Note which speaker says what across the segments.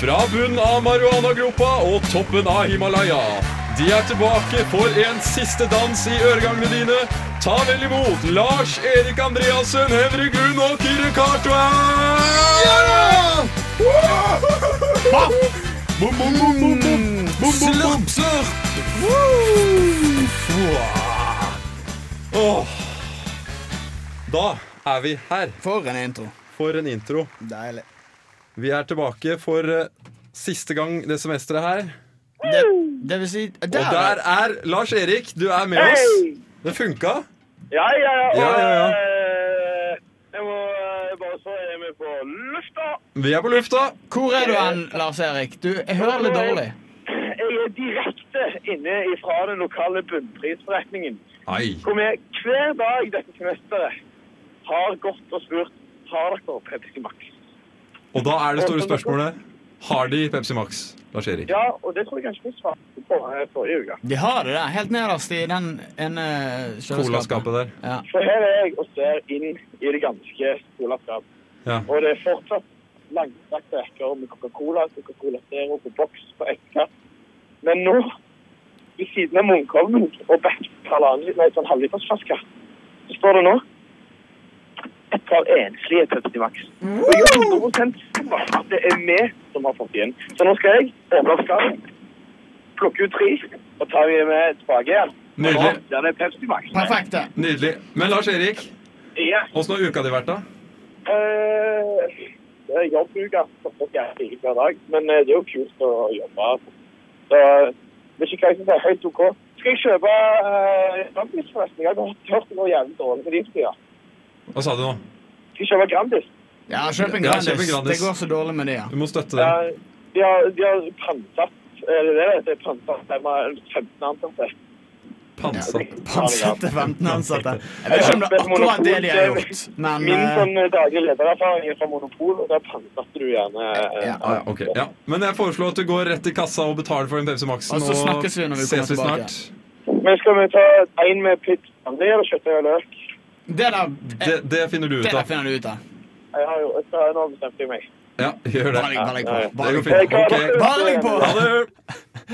Speaker 1: Fra bunnen av marihuanagropa og toppen av Himalaya. De er tilbake for en siste dans i øregangene dine. Ta vel imot Lars Erik Andreassen, Henrik Grun og Kyrre Kartveit! Bom, bom, bom, bom, bom. Bom, bom, bom. Woo! Åh. Da er vi her
Speaker 2: For en intro.
Speaker 1: for en intro.
Speaker 2: Deilig.
Speaker 1: Vi er tilbake for eh, siste gang det semesteret her.
Speaker 2: Det, det vil si der,
Speaker 1: Og der er Lars Erik, du er med oss. Det funka.
Speaker 3: Ja, ja, ja. Og,
Speaker 1: Ja, ja, ja.
Speaker 3: eh, Jeg må eh, bare så er vi på lufta.
Speaker 1: Vi er på lufta.
Speaker 2: Hvor er du hen, Lars Erik? Du, jeg hører litt dårlig.
Speaker 3: Jeg er direkte inne fra den lokale bunnprisforretningen,
Speaker 1: Ai.
Speaker 3: hvor vi hver dag dette semesteret har gått og spurt har dere Pepsi Max.
Speaker 1: Og da er det store spørsmålet Har de Pepsi Max, Lars Erik?
Speaker 3: Ja, og det tror jeg kanskje vi svarte på eh, forrige uke.
Speaker 2: De har det der, helt nederst i den ene kjøleskapet.
Speaker 1: Colaskapet der.
Speaker 2: Ja.
Speaker 3: For her er jeg og ser inn i det ganske skolaskap.
Speaker 1: Ja.
Speaker 3: Og det er fortsatt langstrakte rekker med Coca-Cola, Coca-Cola Zero på boks på ekka. Men nå, ved siden av Munkholmen og Beck halvannen nei, sånn halvlitersflaske, så står det nå et par enslige Pepsi Max. Og jeg er 100 sikker på at det er vi som har fått igjen. Så nå skal jeg åpne opp skallen, plukke ut tre og ta dem med tilbake igjen. Og nå
Speaker 1: Nydelig.
Speaker 3: blir det Pepsi Max.
Speaker 2: Perfekt, det.
Speaker 1: Nydelig. Men Lars Erik,
Speaker 3: Ja.
Speaker 1: åssen har uka di vært, da?
Speaker 3: Eh, Det er jobbuka som folk er i hver dag, men eh, det er jo kult å jobbe. Så det er ikke hva jeg synes er helt OK. Skal jeg kjøpe eh, Grandis forresten? Jeg har hørt noe jævlig dårlig med de tida.
Speaker 1: Hva sa du nå?
Speaker 3: Skal jeg kjøpe Grandis?
Speaker 1: Ja,
Speaker 2: Ja, kjøp en
Speaker 1: kjøp en
Speaker 2: Grandis.
Speaker 1: Grandis.
Speaker 2: Det går så dårlig med det, ja.
Speaker 1: Du må støtte
Speaker 3: Ja,
Speaker 1: dem.
Speaker 3: de har, de har pantsatt eh, det er det det er pantsatt. De har 15 ansatte.
Speaker 1: Pantsatt.
Speaker 2: Ansatte 15 ansatte. Jeg vet ikke om det er akkurat det de har gjort, men
Speaker 3: Min
Speaker 2: eh,
Speaker 3: sånn eh, daglig ledererfaring er fra Monopol, og der pantsatte du gjerne eh,
Speaker 2: Ja.
Speaker 1: Ah, ja, ok. ja. Men jeg foreslår at du går rett til kassa og betaler for den Pepsi Maxen.
Speaker 2: Og så snakkes vi når vi kommer
Speaker 1: ses vi
Speaker 2: tilbake.
Speaker 1: snart.
Speaker 3: Men skal vi ta en med pizza? Det er det kjøttdeig og løk.
Speaker 2: det der, eh,
Speaker 1: Det, det finner du
Speaker 2: det
Speaker 1: ut
Speaker 2: der
Speaker 1: av.
Speaker 2: finner du ut av.
Speaker 3: Jeg har jo, jeg har nå bestemt meg.
Speaker 1: Ja, gjør
Speaker 2: Bare
Speaker 1: det.
Speaker 2: legg bare legg på.
Speaker 3: Ja, ja.
Speaker 2: Bare legg
Speaker 1: Det går
Speaker 2: på.
Speaker 1: fint. Ok.
Speaker 2: Bare legg på.
Speaker 1: Ha det!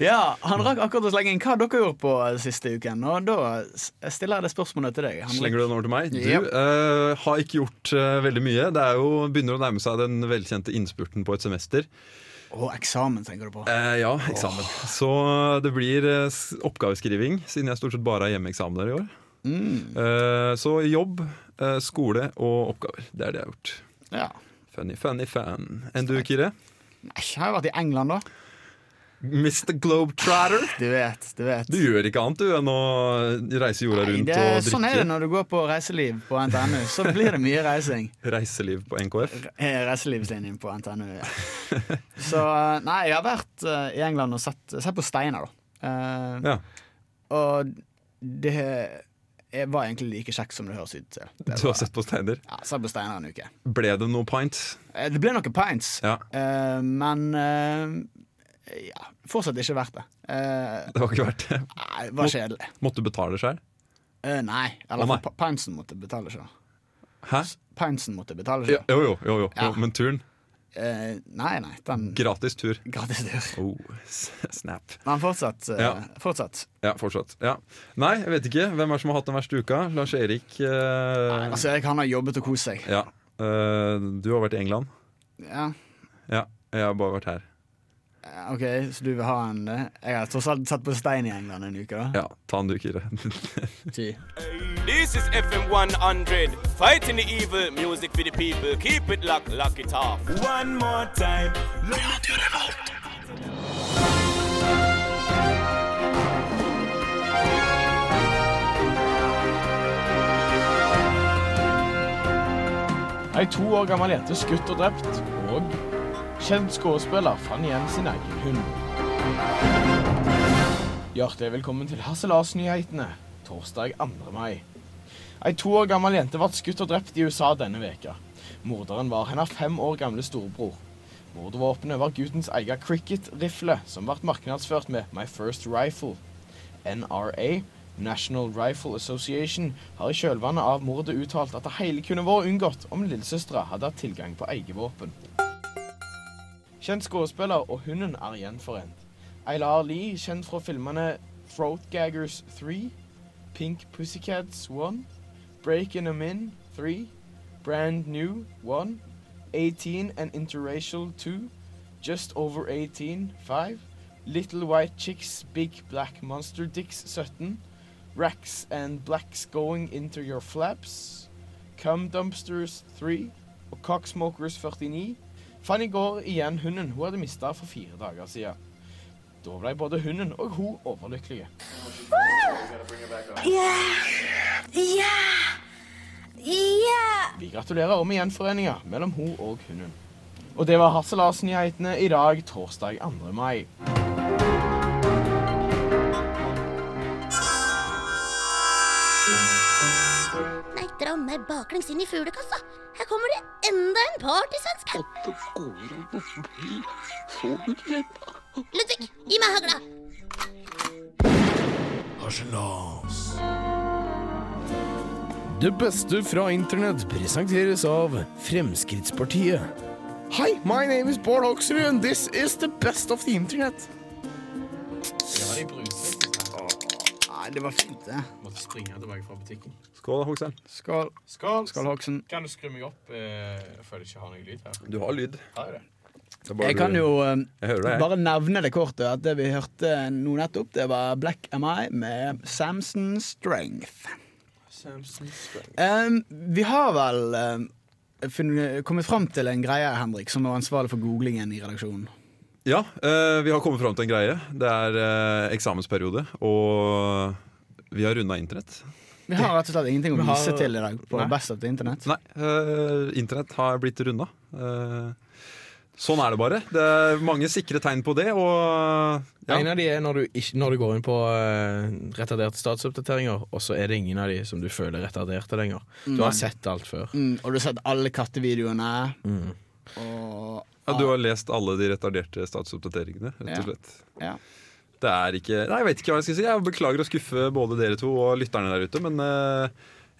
Speaker 2: Ja, Han rakk akkurat å slenge inn hva dere gjorde på eh, siste uken. Og da s- stiller jeg det spørsmålet til deg. Henrik.
Speaker 1: Slenger du den over til meg? Du
Speaker 2: Yep.
Speaker 1: eh, har ikke gjort eh, veldig mye. Det er jo, begynner å nærme seg den velkjente innspurten på et semester.
Speaker 2: Å, eksamen tenker du på.
Speaker 1: Eh, ja, eksamen. Så det blir eh, s- oppgaveskriving, siden jeg stort sett bare har hjemmeeksamener i år.
Speaker 2: Mm.
Speaker 1: Eh, så jobb, eh, skole og oppgaver. Det er det jeg har gjort.
Speaker 2: Ja.
Speaker 1: Funny, funny, fun. Enn du, Kyrre?
Speaker 2: Nei, jeg har jo vært i England, da.
Speaker 1: Mr. Globetrotter.
Speaker 2: Du vet, du vet.
Speaker 1: Du gjør ikke annet du enn å reise jorda
Speaker 2: Nei,
Speaker 1: rundt
Speaker 2: det,
Speaker 1: og drikke.
Speaker 2: sånn er det når du går på reiseliv på NTNU. Så blir det mye reising.
Speaker 1: Reiseliv på NKF.
Speaker 2: Eh, Reiselivslinjen på NTNU. Ja. Så eh, nei, jeg har vært eh, i England og sett, sett på steiner, da. Eh,
Speaker 1: Ja.
Speaker 2: Og det eh, var egentlig like kjekt som det høres ut til. Det
Speaker 1: Du
Speaker 2: var-
Speaker 1: har sett på steiner.
Speaker 2: Ja, Sett på steiner en uke.
Speaker 1: Ble det noe pints?
Speaker 2: Eh, Det ble noen pints,
Speaker 1: Ja.
Speaker 2: eh, men eh, ja, fortsatt ikke verdt det. Eh,
Speaker 1: Det var ikke verdt det.
Speaker 2: nei, det var kjedelig.
Speaker 1: Måtte du betale sjøl?
Speaker 2: Eh, nei, eller
Speaker 1: Å, nei.
Speaker 2: pa- pintsen måtte betale sjøl.
Speaker 1: Hæ?
Speaker 2: Pintsen måtte betale
Speaker 1: Jo,
Speaker 2: sjøl.
Speaker 1: jo, jo, jo, jo.
Speaker 2: Ja.
Speaker 1: Men turen?
Speaker 2: Eh, nei, nei, den
Speaker 1: Gratis tur.
Speaker 2: gratis tur.
Speaker 1: Oh, s- snap.
Speaker 2: Men fortsatt. eh,
Speaker 1: Ja.
Speaker 2: fortsatt.
Speaker 1: Ja, fortsatt. Ja. Nei, jeg vet ikke. Hvem er det som har hatt den verste uka? Lars Erik? eh,
Speaker 2: Altså, Erik han har jobbet og kost seg.
Speaker 1: ja. Eh, du har vært i England.
Speaker 2: Ja.
Speaker 1: Ja. Jeg har bare vært her.
Speaker 2: eh, OK, så du vil ha en eh, Jeg har tross alt sett på stein i England en uke, da.
Speaker 1: Ja, ta den du, Kyrre.
Speaker 2: Ty.
Speaker 4: This is FM 100, fighting the evil, music for the people. Keep it locked, lock it off. One more time.
Speaker 5: Ei to år gammel jente skutt og drept, og kjent skuespiller fant igjen sin egen hund. Hjertelig velkommen til Hasse Lars-nyhetene torsdag 2. mai. Ei to år gammel jente ble skutt og drept i USA denne veka. Morderen var hennes fem år gamle storebror. Mordvåpenet var guttens egen cricket-rifle, som ble markedsført med My First Rifle. NRA, National Rifle Association, har i kjølvannet av mordet uttalt at det hele kunne vært unngått om lillesøstera hadde hatt tilgang på eget våpen. Kjent skuespiller, og hunden er gjenforent. Eilar Lie, kjent fra filmene Throatgaggers 3, Pink Pussycats 1, Breaking Them In 3, Brand New 1, 18 and Interracial 2, Just Over 18 5, Little White Chicks Big Black Monster Dicks 17, Racks and Blacks Going Into Your Flaps, Cum Dumpsters 3 og Cocksmokers 49 fant i går igjen hunden hun hadde mista for fire dager siden. Da ble både hunden og hun overlykkelige.
Speaker 6: Yeah! Yeah!
Speaker 5: Vi gratulerer om igjenforeninga mellom hun og hunden. Og det var Harselas-nyhetene i dag, torsdag 2. mai.
Speaker 6: Nei, dra meg baklengs inn i fuglekassa. Her kommer det enda en partysvenske. Ludvig, gi meg hagla.
Speaker 7: Det beste fra internett presenteres av Fremskrittspartiet. Hi, my name is Bård Hoksrud, and this is the best of the internet.
Speaker 2: Nei, det var fint, det.
Speaker 5: Måtte springe tilbake fra butikken.
Speaker 1: Skål, Hoksheim.
Speaker 2: Skål.
Speaker 5: Skål.
Speaker 2: Skål, Hoksen.
Speaker 5: Kan du skru meg opp? Eh, Jeg føler jeg ikke har noe lyd her.
Speaker 1: Du har lyd.
Speaker 5: Har jeg det?
Speaker 1: Det er bare
Speaker 2: Jeg
Speaker 1: du-
Speaker 2: kan jo eh,
Speaker 1: Jeg hører deg.
Speaker 2: bare nevne det kortet at det vi hørte nå nettopp, det var Black Am I med Samson Strength. Em, vi har vel em, funnet, kommet fram til en greie, Henrik, som var ansvarlig for googlingen i redaksjonen.
Speaker 1: Ja, eh, vi har kommet fram til en greie. Det er eh, eksamensperiode, og vi har runda internett.
Speaker 2: Vi har rett og slett ingenting å
Speaker 5: har-
Speaker 2: vise til i dag på
Speaker 5: Nei.
Speaker 2: Best of the Internett.
Speaker 1: Nei, eh, internett har blitt runda. Eh, sånn er det bare. Det er mange sikre tegn på det, og ja.
Speaker 8: En av de er når du, ikke, når du går inn på eh, retarderte statsoppdateringer, og så er det ingen av de som du føler er retarderte lenger. Du har sett alt før.
Speaker 2: Mm, og du har sett alle kattevideoene. Og
Speaker 1: Ja, du har lest alle de retarderte statsoppdateringene, rett
Speaker 2: Ja.
Speaker 1: og slett.
Speaker 2: Ja.
Speaker 1: Det er ikke Nei, jeg vet ikke hva jeg skal si. Jeg beklager å skuffe både dere to og lytterne der ute, men eh,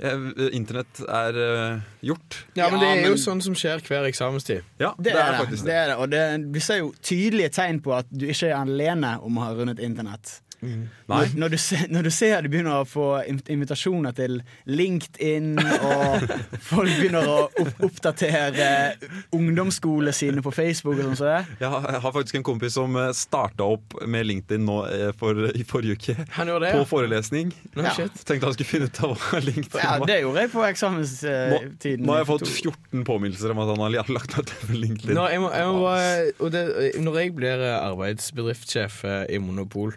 Speaker 1: jeg- internett er eh, gjort.
Speaker 8: Ja, men det
Speaker 2: Ja,
Speaker 8: er jo
Speaker 2: men-
Speaker 8: sånn som skjer hver eksamenstid.
Speaker 1: Ja,
Speaker 2: Det, er det.
Speaker 1: faktisk
Speaker 2: det er det. Og det, du ser jo tydelige tegn på at du ikke er alene om å ha rundet internett.
Speaker 1: Mm. Nei.
Speaker 2: Når, når, du ser, når du ser du begynner å få im- invitasjoner til LinkedIn, og folk begynner å opp oppdatere ungdomsskolene sine på Facebook og sånn som det.
Speaker 1: Jeg har, jeg har faktisk en kompis som starta opp med LinkedIn nå eh, for, i forrige uke.
Speaker 8: Han gjorde det,
Speaker 1: På
Speaker 8: ja.
Speaker 1: forelesning.
Speaker 8: Nå,
Speaker 2: Ja.
Speaker 8: shit.
Speaker 1: Tenkte han skulle finne ut av hva LinkedIn
Speaker 2: Ja,
Speaker 1: var.
Speaker 2: det gjorde jeg på
Speaker 1: Nå,
Speaker 2: eksamenstiden.
Speaker 1: nå har jeg fått 14 påminnelser om at han har lagt meg til med LinkedIn.
Speaker 8: Nå, jeg må, jeg må, bare- og det, når jeg blir eh, arbeidsbedriftssjef eh, i Monopol,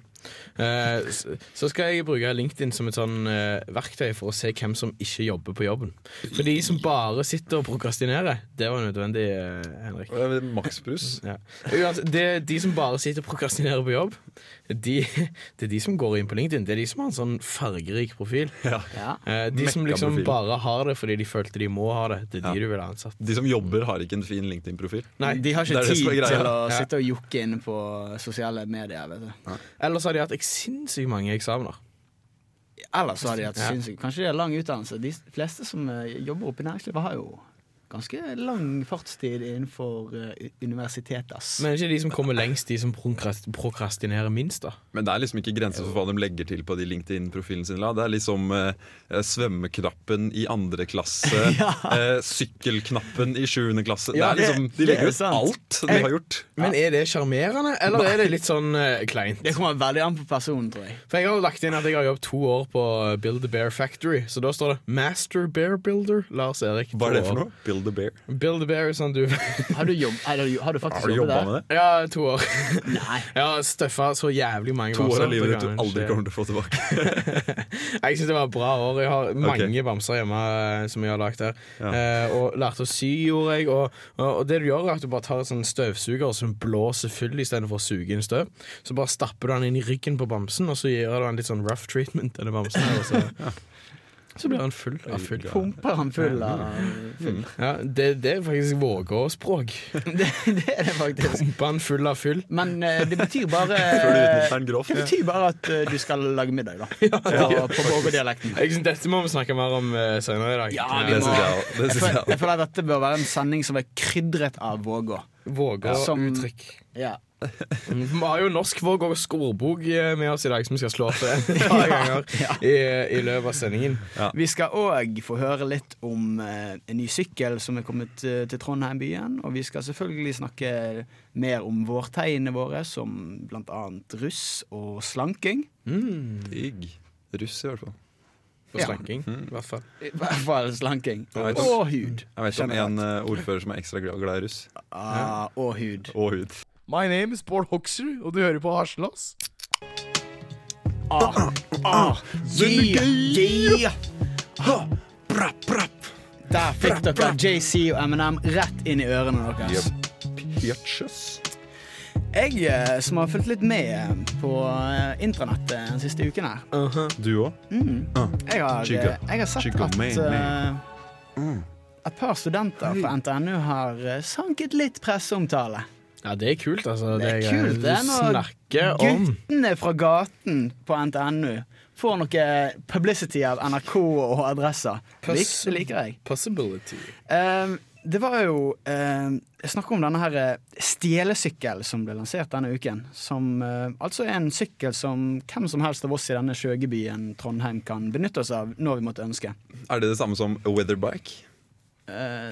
Speaker 8: eh, s- så skal jeg bruke LinkedIn som et sånn eh, verktøy for å se hvem som ikke jobber på jobben. For de som bare sitter og prokrastinerer, det var nødvendig, eh, Henrik.
Speaker 1: Eh, Maksbrus.
Speaker 8: Ja. Uansett, det, de som bare sitter og prokrastinerer på jobb, de, det er de som går inn på LinkedIn. Det er de som har en sånn fargerik profil.
Speaker 2: Ja.
Speaker 8: Eh, De som liksom
Speaker 1: Mekka-profil.
Speaker 8: bare har det fordi de følte de må ha det. Det er de
Speaker 1: Ja.
Speaker 8: du ville ha ansatt.
Speaker 1: De som jobber, har ikke en fin LinkedIn-profil.
Speaker 8: Nei,
Speaker 2: De har
Speaker 1: det
Speaker 2: ikke
Speaker 1: er det som
Speaker 2: tid
Speaker 1: er greia.
Speaker 2: til å
Speaker 8: Ja.
Speaker 2: sitte og jokke inne på sosiale medier. vet du
Speaker 8: Ellers har de hatt ek- sinnssykt mange eksamener.
Speaker 2: Ellers så har de hatt
Speaker 8: Ja.
Speaker 2: sinnssykt Kanskje de har lang utdannelse. De fleste som eh, jobber oppe i næringslivet, har jo ganske lang fartstid innenfor eh, universitetet. ass.
Speaker 8: Men er det ikke de som kommer lengst, de som prokrast- prokrastinerer minst, da?
Speaker 1: Men det er liksom ikke grenser for hva de legger til på de LinkedIn-profilene sine. da. Det er liksom eh, svømmeknappen i andre klasse, eh, sykkelknappen i sjuende klasse.
Speaker 8: Ja,
Speaker 1: det er liksom, de
Speaker 2: det er
Speaker 1: legger ut
Speaker 2: sant.
Speaker 1: alt de har gjort.
Speaker 8: Men er det sjarmerende, eller er det litt sånn eh, kleint?
Speaker 2: Det kommer veldig an på personen, tror jeg.
Speaker 8: For jeg har jo lagt inn at jeg har jobbet to år på eh, Build a Bear Factory, så da står det Master Bear Builder Lars Erik.
Speaker 1: Hva
Speaker 8: to
Speaker 1: er det for
Speaker 8: år.
Speaker 1: noe? Build a bear.
Speaker 8: Build a Bear, er sånn du
Speaker 2: Har du, jobb, har du, har du faktisk
Speaker 1: Har du jobba
Speaker 2: jobbet
Speaker 1: med det?
Speaker 8: Ja, to år.
Speaker 2: Nei.
Speaker 8: Jeg har støffa så jævlig mange
Speaker 1: To år
Speaker 8: bamser.
Speaker 1: av livet ditt
Speaker 8: Det
Speaker 1: du
Speaker 8: kan
Speaker 1: aldri
Speaker 8: skje.
Speaker 1: kommer til å få tilbake.
Speaker 8: Jeg syns det var et bra år. Jeg har mange bamser hjemme eh, som jeg har lagd her. Eh, og lærte å sy, gjorde jeg. Og, og, og det du gjør, er at du bare tar en sånn støvsuger som blåser full istedenfor å suge inn støv. Så bare stapper du den inn i ryggen på bamsen, og så gir du den litt sånn rough treatment til den bamsen. her, Og så Så blir han full av full.
Speaker 2: Pumper han full av full.
Speaker 8: Ja, det, det er faktisk vågåspråk.
Speaker 2: Det, det er det faktisk.
Speaker 8: Pumpe han full av fyll.
Speaker 2: Men eh, det betyr bare
Speaker 1: Før du utnytter den grovt.
Speaker 2: Det betyr bare at eh, du skal lage middag, da. På, på Vågå-dialekten.
Speaker 8: Jeg synes Dette må vi snakke mer om eh, senere i dag. Eh,
Speaker 2: Ja, vi
Speaker 1: Det
Speaker 2: må-
Speaker 1: syns jeg òg. Det
Speaker 2: Jeg
Speaker 1: synes jeg
Speaker 2: føler,
Speaker 1: også.
Speaker 2: jeg føler at dette bør være en sending som er krydret av Vågå. Som-
Speaker 8: Vågå-uttrykk.
Speaker 2: Ja.
Speaker 8: Vi har jo norsk våg og skorbok eh, med oss i dag, som vi skal slå opp eh, et par ganger i, i løpet av sendingen.
Speaker 2: Vi skal òg få høre litt om eh, en ny sykkel som er kommet eh, til Trondheim byen. Og vi skal selvfølgelig snakke mer om vårtegnene våre, som blant annet russ og slanking.
Speaker 1: Digg. Russ, i hvert fall.
Speaker 8: På
Speaker 2: Ja.
Speaker 8: slanking, i hvert fall.
Speaker 2: I hvert fall slanking.
Speaker 1: Jeg vet-
Speaker 2: Og hud.
Speaker 1: Jeg vet ikke om
Speaker 2: Generelt.
Speaker 1: en eh, ordfører som er ekstra glad glad i russ.
Speaker 2: Ah, og hud.
Speaker 1: Og hud.
Speaker 7: My name is Bård Hoksrud, og du hører på Harselas.
Speaker 2: Ah, ah, yeah, yeah. Der fikk dere JC og Eminem rett inn i ørene deres.
Speaker 1: Pjøtsjøs.
Speaker 2: Jeg eh, som har fulgt litt med eh, på eh, intranettet den siste uken her,
Speaker 1: Du òg?
Speaker 2: Jeg har, eh,
Speaker 1: Chigga.
Speaker 2: jeg har sett
Speaker 1: Chigga
Speaker 2: at
Speaker 1: man, man.
Speaker 2: eh, et par studenter fra NTNU har eh, sanket litt presseomtale.
Speaker 8: Ja, det er kult, altså.
Speaker 2: Det er
Speaker 8: jeg-
Speaker 2: kult, det er
Speaker 8: du
Speaker 2: noe
Speaker 8: snakker om
Speaker 2: Guttene fra gaten på NTNU får noe eh, publicity av NRK og adresser. Det lik-
Speaker 8: Puss.
Speaker 2: det liker jeg.
Speaker 8: possibility.
Speaker 2: Eh, det var jo eh, snakk om denne her eh, stjelesykkel som ble lansert denne uken. Som eh, altså er en sykkel som hvem som helst av oss i denne skjøgebyen Trondheim kan benytte oss av når vi måtte ønske.
Speaker 1: Er det det samme som weatherbike?
Speaker 2: Eh,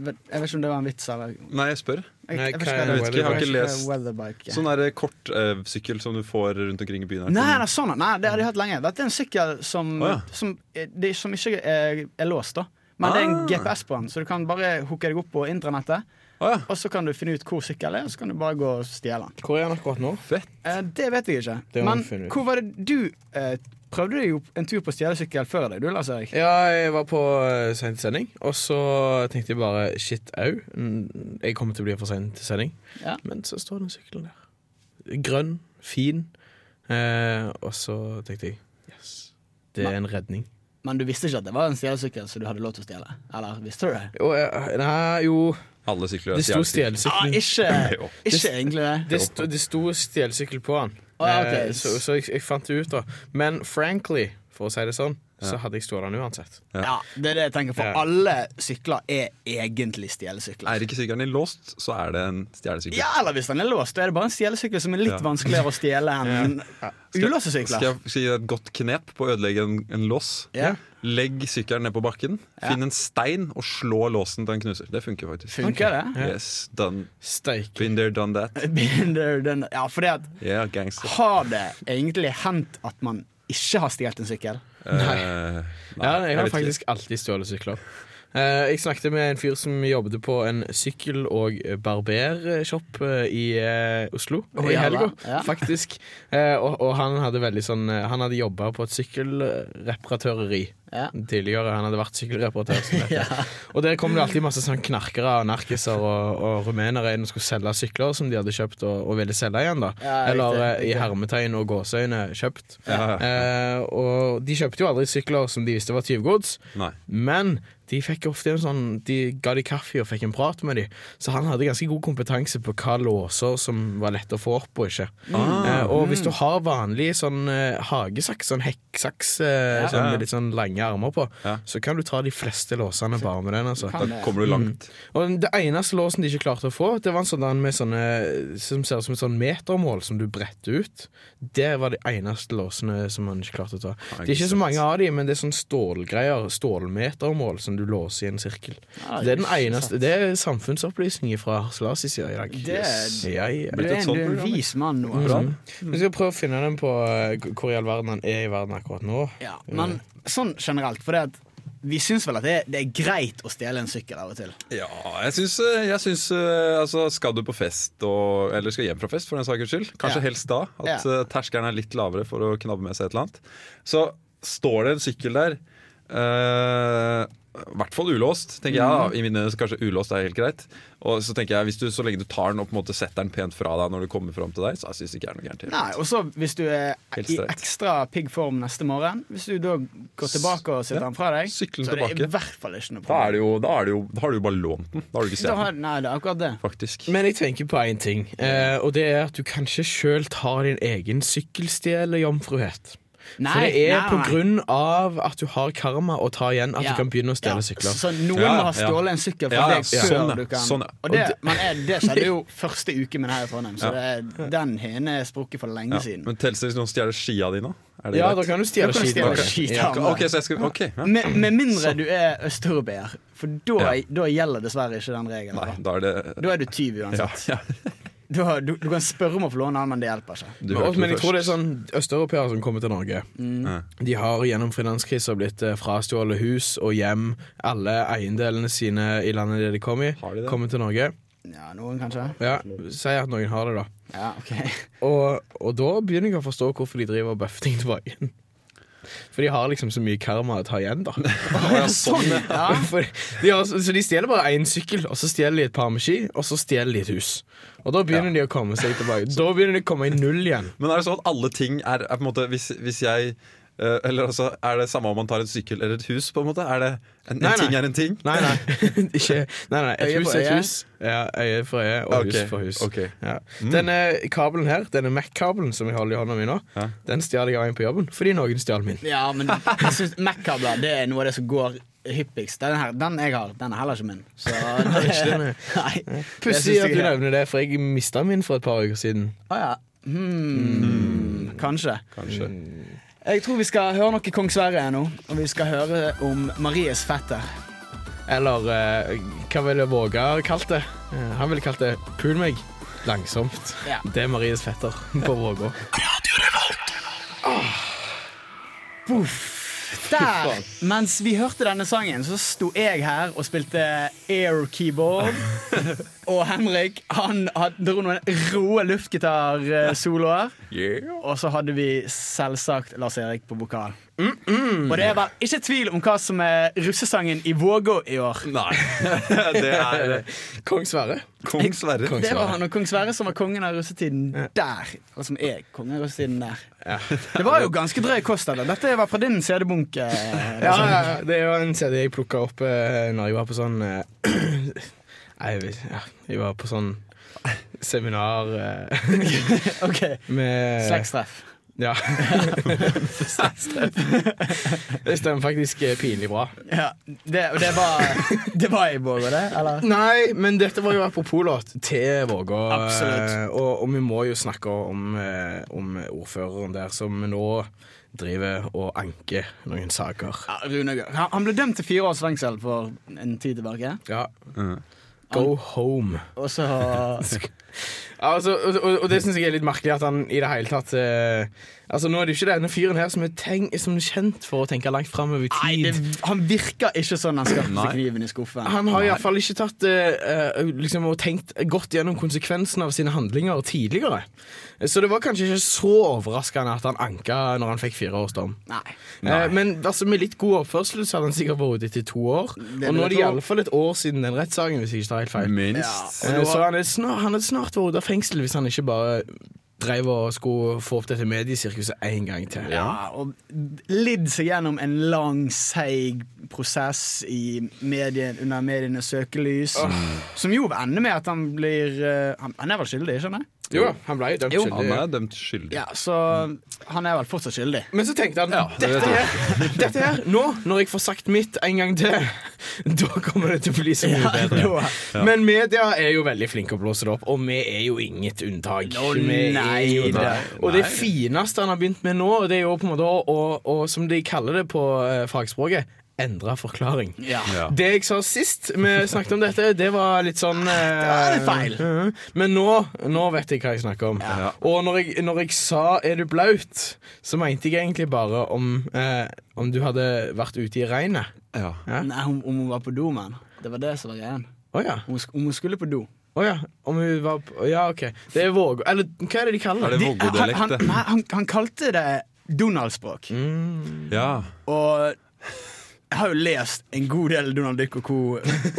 Speaker 2: vet- jeg vet ikke om det var en vits eller
Speaker 1: Nei, jeg spør.
Speaker 2: Jeg,
Speaker 8: Nei,
Speaker 2: jeg, vet ikke
Speaker 8: hva
Speaker 2: hva
Speaker 8: er
Speaker 2: det
Speaker 1: Jeg vet ikke, jeg har ikke lest.
Speaker 2: Weatherbike.
Speaker 1: Sånn der kortsykkel som du får rundt omkring i byen. her
Speaker 2: Nei, nei, sånn, nei, det har de hatt lenge. Dette er en sykkel som,
Speaker 1: Å, ja.
Speaker 2: som, eh, det, som ikke er, er låst, da. Men det er en GPS på den, så du kan bare hooke deg opp på intranettet.
Speaker 1: Ah. Å, ja.
Speaker 2: Og så kan du finne ut hvor sykkelen er, og så kan du bare gå og stjele den.
Speaker 8: Hvor er han akkurat nå?
Speaker 2: Eh, det vet jeg ikke.
Speaker 8: Det må
Speaker 2: Men
Speaker 8: vi finne ut.
Speaker 2: hvor var det du eh, Prøvde du jo en tur på stjelesykkel før deg, du, Lars Erik?
Speaker 8: Ja, jeg var på eh, sent til sending, og så tenkte jeg bare shit au. mm, Jeg kommer til å bli for sent til sending.
Speaker 2: Ja.
Speaker 8: Men så står den sykkelen der. Grønn, fin. Eh, og så tenkte jeg yes, det er en redning.
Speaker 2: Men du visste ikke at det var en stjelesykkel, så du hadde lov til å stjele? Eller visste du det?
Speaker 8: Og jeg, nei, jo
Speaker 1: Alle sykler
Speaker 8: Det sto stjelesykkel.
Speaker 2: ikke,
Speaker 1: Jo.
Speaker 2: ikke egentlig det.
Speaker 8: Ah, Det, sto- det sto stjelsykkel på han.
Speaker 2: Å, ja, ok.
Speaker 8: Eh, Så, så jeg, jeg fant det ut, da. Men frankly, for å si det sånn, så hadde jeg stjålet den uansett.
Speaker 2: Ja, det er det jeg tenker, for
Speaker 8: Ja.
Speaker 2: alle sykler er egentlig stjelesykler.
Speaker 1: Er ikke sykkelen din låst, så er det en stjelesykkel.
Speaker 2: Ja, eller hvis den er låst, da er det bare en stjelesykkel som er litt
Speaker 1: Ja.
Speaker 2: vanskeligere å stjele enn ulåste
Speaker 1: Skal
Speaker 2: sykler.
Speaker 1: jeg skal jeg gi deg et godt knep på å ødelegge en, en lås?
Speaker 2: Ja.
Speaker 1: Legg sykkelen ned på bakken, finn en stein og slå låsen til den knuser. Det funker faktisk.
Speaker 2: Funker det?
Speaker 1: Yes, done.
Speaker 8: Steike.
Speaker 1: Been there, done that.
Speaker 2: Binder den Ja, for det at
Speaker 1: Yeah, gangster.
Speaker 2: Har det egentlig hendt at man ikke har stjålet en sykkel?
Speaker 1: Eh, Nei.
Speaker 8: Ja, jeg har
Speaker 1: vet ikke.
Speaker 8: faktisk alltid stjålet sykler. Eh, jeg snakket med en fyr som jobbet på en sykkel- og barbershop eh, i eh, Oslo
Speaker 2: Å,
Speaker 8: i
Speaker 2: ja
Speaker 8: helga,
Speaker 2: da, ja.
Speaker 8: faktisk. Eh, og, og han hadde veldig sånn eh, Han hadde jobba på et sykkelreparatøreri
Speaker 2: Ja.
Speaker 8: tidligere. Han hadde vært sykkelreparatør. Som det heter. Og der kom det alltid masse sånn knarkere og narkiser og, og rumenere inn og skulle selge sykler som de hadde kjøpt og, og ville selge igjen. da
Speaker 2: Ja, riktig,
Speaker 8: Eller eh, i
Speaker 2: riktig.
Speaker 8: hermetegn og gåseøyne kjøpt.
Speaker 1: Ja.
Speaker 8: Eh, og de kjøpte jo aldri sykler som de visste var tyvgods,
Speaker 1: Nei.
Speaker 8: men de fikk ofte en sånn De ga de kaffe og fikk en prat med de Så han hadde ganske god kompetanse på hva låser som var lett å få opp og ikke.
Speaker 1: Ah,
Speaker 8: Eh, og hvis du har vanlig sånn eh, hagesaks, sånn hekksaks eh,
Speaker 2: Ja.
Speaker 8: sånn, med litt sånn lange armer på,
Speaker 1: Ja.
Speaker 8: så kan du ta de fleste låsene bare med den. Altså.
Speaker 1: Da kommer du langt.
Speaker 8: Og det eneste låsen de ikke klarte å få, Det var en sånn der med sånne som ser ut som et sånn metermål som du bretter ut. Det var de eneste låsene som man ikke klarte å ta.
Speaker 1: Nei,
Speaker 8: Det er ikke
Speaker 1: sant.
Speaker 8: så mange av de, men det er sånn stålgreier. Stålmetermål som du låser i en sirkel.
Speaker 2: Ja,
Speaker 8: det er den eneste Det er samfunnsopplysning fra Harselas side i dag.
Speaker 2: Det er-
Speaker 8: Ja, ja.
Speaker 2: Du er en,
Speaker 1: sånt
Speaker 2: du er en
Speaker 1: program,
Speaker 2: vis mann nå.
Speaker 8: Mm.
Speaker 2: altså.
Speaker 8: Vi skal prøve å finne den på eh, hvor i all verden han er i verden akkurat nå.
Speaker 2: Ja, men sånn generelt, for det at vi syns vel at det, det er greit å stjele en sykkel av og til.
Speaker 1: Ja, jeg syns, jeg syns eh, altså, Skal du på fest, og, eller skal hjem fra fest for den sakens skyld, kanskje
Speaker 2: Ja.
Speaker 1: helst da, at
Speaker 2: Ja.
Speaker 1: eh, terskelen er litt lavere for å knabbe med seg et eller annet, så står det en sykkel der Eh, I hvert fall ulåst,
Speaker 8: Mm.
Speaker 1: tenker jeg. da I mine øyne så kanskje ulåst er helt greit. Og så tenker jeg, hvis du, Så lenge du tar den og på en måte setter den pent fra deg når du kommer fram til deg, så syns jeg ikke det er noe gærent. i det
Speaker 2: Nei,
Speaker 1: hele tatt.
Speaker 2: og så hvis du er
Speaker 1: Helt
Speaker 2: i
Speaker 1: streit.
Speaker 2: ekstra pigg form neste morgen, hvis du da går tilbake og setter
Speaker 1: Ja,
Speaker 2: den fra deg, så
Speaker 1: sykler den
Speaker 2: er det i
Speaker 1: tilbake.
Speaker 2: hvert fall ikke noe
Speaker 1: Da,
Speaker 2: problem.
Speaker 1: er det jo, da, er det jo, da har du jo bare lånt den. Da har du ikke
Speaker 2: Da
Speaker 1: sett
Speaker 2: har,
Speaker 1: den,
Speaker 2: nei, det er akkurat det.
Speaker 1: faktisk.
Speaker 8: Men jeg tenker på én ting, eh, og det er at du kanskje sjøl tar din egen sykkelstjelerjomfruhet.
Speaker 2: Nei,
Speaker 8: For det er
Speaker 2: nei,
Speaker 8: på
Speaker 2: nei.
Speaker 8: grunn av at du har karma å ta igjen at
Speaker 2: Ja.
Speaker 8: du kan begynne å
Speaker 2: Ja,
Speaker 8: stjele sykler.
Speaker 2: Så noen
Speaker 1: Ja, ja,
Speaker 2: har stjålet en sykkel fra
Speaker 1: Ja, ja,
Speaker 2: deg
Speaker 1: ja.
Speaker 2: før
Speaker 1: Sånn, ja.
Speaker 2: du kan
Speaker 1: Sånn, ja.
Speaker 2: Og det, men er, det skjedde jo første uken min her i Trondheim, så
Speaker 1: Ja.
Speaker 2: det, den hene er sprukket for lenge
Speaker 1: Ja.
Speaker 2: siden.
Speaker 1: Men telles det hvis noen stjeler skia dine? Er det
Speaker 8: Ja, da
Speaker 1: greit?
Speaker 8: kan du
Speaker 2: Da
Speaker 8: stjele
Speaker 2: kan du
Speaker 8: skiten.
Speaker 2: stjele
Speaker 8: Ok.
Speaker 2: skiten.
Speaker 8: Ja.
Speaker 1: Ok, så jeg skal, ok, ja.
Speaker 2: Med, med mindre du er østeuropeer, for da,
Speaker 1: Ja.
Speaker 2: da gjelder dessverre ikke den regelen.
Speaker 1: Nei,
Speaker 2: da.
Speaker 1: da er det
Speaker 2: Da er du tyv
Speaker 1: ja,
Speaker 2: uansett.
Speaker 1: ja.
Speaker 2: Du, har- du, du kan spørre om å få låne den, men det hjelper ikke.
Speaker 1: Du
Speaker 8: Men,
Speaker 1: hørte
Speaker 8: men jeg
Speaker 1: først.
Speaker 8: tror det er sånn østeuropeere som kommer til Norge.
Speaker 1: Mm.
Speaker 8: De har gjennom finanskrisa blitt eh, frastjålet hus og hjem, alle eiendelene sine i landet der de kom i,
Speaker 1: Har de det?
Speaker 8: kommer til Norge.
Speaker 2: Ja, noen kanskje?
Speaker 8: Ja, Si at noen har det, da.
Speaker 2: Ja, ok.
Speaker 8: Og, og da begynner jeg å forstå hvorfor de driver og bøffer ting tilbake igjen. For de har liksom så mye karma å ta igjen, da.
Speaker 1: Å, ja, sånn, ja.
Speaker 8: For de har, så de stjeler bare én sykkel, og så stjeler de et par med ski, og så stjeler de et hus. Og da begynner de å komme seg tilbake. Da begynner de å komme i null igjen.
Speaker 1: Men er det sånn at alle ting er, er på en måte Hvis, hvis jeg eh, Eller altså, er det samme om man tar en sykkel eller et hus, på en måte? Er det En, en
Speaker 8: Nei, nei.
Speaker 1: ting er en ting?
Speaker 8: Nei, nei. Ikke, nei, nei. Et
Speaker 2: Øye
Speaker 8: hus
Speaker 2: for
Speaker 8: er
Speaker 2: øye.
Speaker 8: et hus. Ja, øye for øye og
Speaker 1: Ok,
Speaker 8: hus for hus.
Speaker 1: ok.
Speaker 8: Ja.
Speaker 2: Mm.
Speaker 8: Denne kabelen her, denne Mac-kabelen som jeg holder i hånda mi nå,
Speaker 1: Ja.
Speaker 8: den stjal jeg av en på jobben fordi noen stjal min.
Speaker 2: Ja, men jeg synes Mac-kabler det er noe av det som går hyppigst. Den, her, den jeg har, den er heller ikke min. Så det
Speaker 8: ikke det, nei.
Speaker 2: Nei.
Speaker 8: Pussig at du nevner det, for jeg mista min for et par uker siden.
Speaker 2: Å ja. Hmm. Kanskje.
Speaker 1: Kanskje.
Speaker 2: Jeg tror vi skal høre noe Kong Sverre nå. Og vi skal høre om Maries fetter.
Speaker 8: Eller eh, hva ville Våga kalt det? Eh, han ville kalt det 'pul meg'. Langsomt.
Speaker 2: Ja.
Speaker 8: Det er Maries fetter på Vågå.
Speaker 2: Der! Mens vi hørte denne sangen, så sto jeg her og spilte air keyboard. Og Henrik han had- dro noen rå eh, luftgitarsoloer.
Speaker 1: Yeah.
Speaker 2: Og så hadde vi selvsagt Lars Erik på vokal. Og det er vel ikke tvil om hva som er russesangen i Vågå i år.
Speaker 1: Nei. Det er eh,
Speaker 8: Kong Sverre.
Speaker 1: kong Sverre.
Speaker 8: Kong
Speaker 2: Det var
Speaker 8: Sverre.
Speaker 2: han og kong Sverre som var kongen av russetiden der. Eller som er kongen av russetiden der. Det var jo ganske drøy kost av det. Dette var fra din CD-bunk. eh,
Speaker 8: Ja, ja, ja, det var en CD jeg plukka opp uh, når jeg var på sånn eh, Nei, jeg vet ja, Jeg var på sånn seminar eh,
Speaker 2: Ok,
Speaker 8: med
Speaker 2: Slektstreff.
Speaker 8: Ja. det stemmer faktisk eh, pinlig bra.
Speaker 2: Ja, det, og det var, det var i Vågå, det? Eller?
Speaker 8: Nei, men dette var jo apropos låt til Vågå.
Speaker 2: Absolutt.
Speaker 8: eh, Og, og vi må jo snakke om, eh, om ordføreren der som nå driver og anker noen saker.
Speaker 2: Ja, Rune Gahr. Han, han ble dømt til fire års fengsel for en tid tilbake.
Speaker 8: Ja. Go home.
Speaker 2: Og så
Speaker 8: Ja, altså, og, og, og det syns jeg er litt merkelig at han i det hele tatt eh, Altså, Nå er det jo ikke denne fyren her som er, tenk, som er kjent for å tenke langt framover i tid.
Speaker 2: Nei, det, han virker ikke sånn han skapte kniven i skuffen.
Speaker 8: Han har iallfall ikke tatt eh, eh, liksom, og tenkt godt gjennom konsekvensen av sine handlinger tidligere. Så det var kanskje ikke så overraskende at han anka når han fikk fire års dom.
Speaker 2: Nei.
Speaker 8: Eh, men altså, med litt god oppførsel så hadde han sikkert vært ute i to år.
Speaker 2: vil
Speaker 8: og nå
Speaker 2: jeg
Speaker 8: er det
Speaker 2: tro.
Speaker 8: iallfall et år siden den rettssaken, hvis jeg ikke tar helt feil.
Speaker 1: Minst.
Speaker 8: Eh, Så han er snart, han er snart vært ute av fengsel hvis han ikke bare drev og skulle få opp dette mediesirkuset en gang til.
Speaker 2: Ja, og lidd seg gjennom en lang, seig prosess i medien, under medienes søkelys. Som jo ender med at han blir eh, Han, han er vel skyldig, skjønner jeg?
Speaker 8: Jo, han ble dømt
Speaker 2: Jo.
Speaker 1: Han
Speaker 8: skyldig.
Speaker 1: er dømt skyldig.
Speaker 2: Ja, så han er vel fortsatt skyldig.
Speaker 8: Men så tenkte han
Speaker 1: det
Speaker 8: dette,
Speaker 1: vet jeg.
Speaker 8: her, dette her, nå når jeg får sagt mitt en gang til, da kommer det til å bli så mye bedre.
Speaker 2: da-
Speaker 8: Men media er jo veldig flinke å blåse det opp, og vi er jo inget unntak.
Speaker 2: Nå,
Speaker 8: Vi er
Speaker 2: nei,
Speaker 8: jo det.
Speaker 2: nei,
Speaker 8: Og det fineste han har begynt med nå, det er jo på en måte å, å- å- som de kaller det på eh, fagspråket, endre forklaring.
Speaker 2: Ja.
Speaker 1: Ja.
Speaker 8: Det jeg sa sist vi snakket om dette, det var litt sånn Det
Speaker 2: var litt feil.
Speaker 8: Ehm, mm. Men nå, nå vet jeg hva jeg snakker om.
Speaker 1: Ja.
Speaker 8: Og når jeg, når jeg sa 'er du blaut', så mente jeg egentlig bare om, eh, om du hadde vært ute i regnet.
Speaker 1: Ja.
Speaker 2: Nei, om, om hun var på do, men. Det var det som var greien.
Speaker 8: Å ja.
Speaker 2: Om hun, sk- om hun skulle på do.
Speaker 8: Å ja. Om hun var på Ja, OK. Det er våg... Eller hva er det de kaller
Speaker 1: Er
Speaker 8: det?
Speaker 1: det
Speaker 2: De- han, han,
Speaker 1: Vågå-dialekt, det? Mm.
Speaker 2: nei, han, han kalte det Donald-språk.
Speaker 1: Ja.
Speaker 2: Og Jeg har jo lest en god del Donald Duck og co.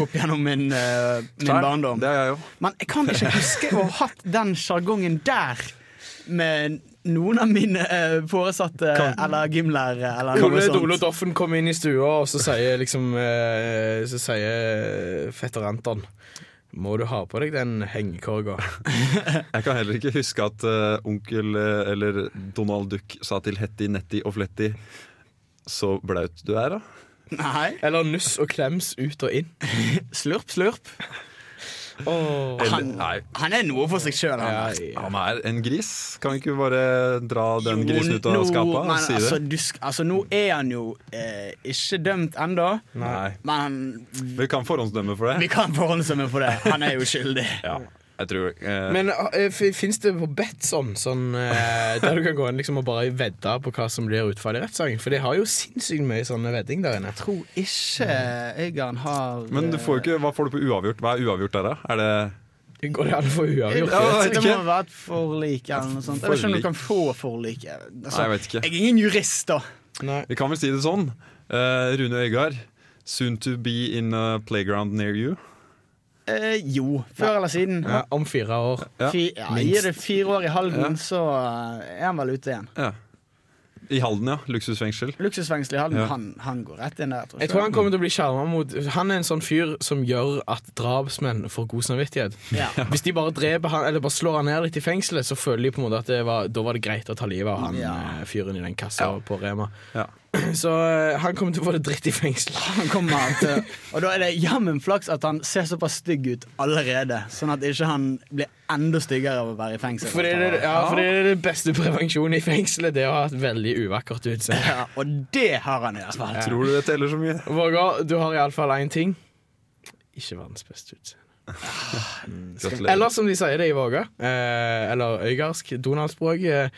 Speaker 2: opp gjennom min, eh, min barndom.
Speaker 1: Det er jeg jo.
Speaker 2: Men jeg kan ikke huske å ha hatt den sjargongen der med noen av mine eh, foresatte eller gymlærere eller noe
Speaker 8: Ole Dolo
Speaker 2: sånt.
Speaker 8: Doffen kommer inn i stua, og så sier liksom eh, Så sier fetter Anton Må du ha på deg den hengekorga?
Speaker 1: Jeg kan heller ikke huske at eh, onkel eh, eller Donald Duck sa til Hetty, Netty og Fletty så blaut du er, da.
Speaker 2: Nei.
Speaker 8: Eller nuss og klems ut og inn.
Speaker 2: Slurp, slurp.
Speaker 1: Eller,
Speaker 2: Han-
Speaker 1: nei,
Speaker 2: Han er noe for seg sjøl, han.
Speaker 8: Ja,
Speaker 2: der.
Speaker 8: ja.
Speaker 1: han er en gris. Kan vi ikke bare dra den
Speaker 2: Jo,
Speaker 1: grisen ut av
Speaker 2: nå-
Speaker 1: skapet og
Speaker 2: men
Speaker 1: si det?
Speaker 2: Altså, du, sk- altså, nå er han jo eh, ikke dømt ennå,
Speaker 1: Nei.
Speaker 2: men
Speaker 1: Vi kan forhåndsdømme for
Speaker 2: vi
Speaker 1: det.
Speaker 2: kan forhåndsdømme på det. Han er jo skyldig.
Speaker 1: Ja, jeg tror eh,
Speaker 8: Men fins det på Betson sånn, eh, der du kan gå inn liksom og bare vedde på hva som blir utfallet i rettssaken? For de har jo sinnssykt mye sånne vedding der inne.
Speaker 2: Tror ikke Øygarden har
Speaker 1: Men du får jo
Speaker 2: eh,
Speaker 1: ikke, hva får du på uavgjort? Hva er uavgjort der, da? Er det
Speaker 8: Går det an å få uavgjort?
Speaker 1: Ja, jeg vet
Speaker 2: det
Speaker 1: ikke.
Speaker 2: må være et forlik eller noe sånt. Jeg vet ikke om du kan få forlik. Altså,
Speaker 1: Nei, jeg vet ikke.
Speaker 2: Jeg er ingen jurist, da.
Speaker 8: Nei.
Speaker 1: Vi kan vel si det sånn. Eh, Rune Øygard, soon to be in a playground near you.
Speaker 2: Eh, jo, før eller siden.
Speaker 8: Ja, om fire år.
Speaker 1: Ja.
Speaker 2: Fi, ja, gir det fire år i Halden, så eh, er han vel ute igjen.
Speaker 1: Ja. I Halden, ja. Luksusfengsel.
Speaker 2: Luksusfengsel i Halden,
Speaker 1: Ja.
Speaker 2: han, han går rett inn der.
Speaker 8: Jeg tror han kommer til å bli skjerma mot Han er en sånn fyr som gjør at drapsmenn får god samvittighet.
Speaker 2: Ja.
Speaker 8: Hvis de bare dreper han Eller bare slår han ned litt i fengselet, så føler de på en måte at det var, da var det greit å ta livet av han
Speaker 2: Ja.
Speaker 8: eh, fyren i den kassa på Rema.
Speaker 1: Ja.
Speaker 8: Så eh, han kommer til å få det dritt i fengselet.
Speaker 2: Han kommer til Og da er det jammen flaks at han ser såpass stygg ut allerede, sånn at ikke han blir enda styggere av å være i fengsel.
Speaker 8: For det, er det- ja, for det er den beste prevensjonen i fengselet, det å ha et veldig uvakkert utseende.
Speaker 2: Ja, og det har han i hvert fall.
Speaker 1: Tror du det teller så mye?
Speaker 8: Vågar, du har iallfall én ting. Ikke verdens beste utseende.
Speaker 1: Gratulerer.
Speaker 8: Eller som de sier det i Våga, eh, eller øygarsk Donald-språk. Eh,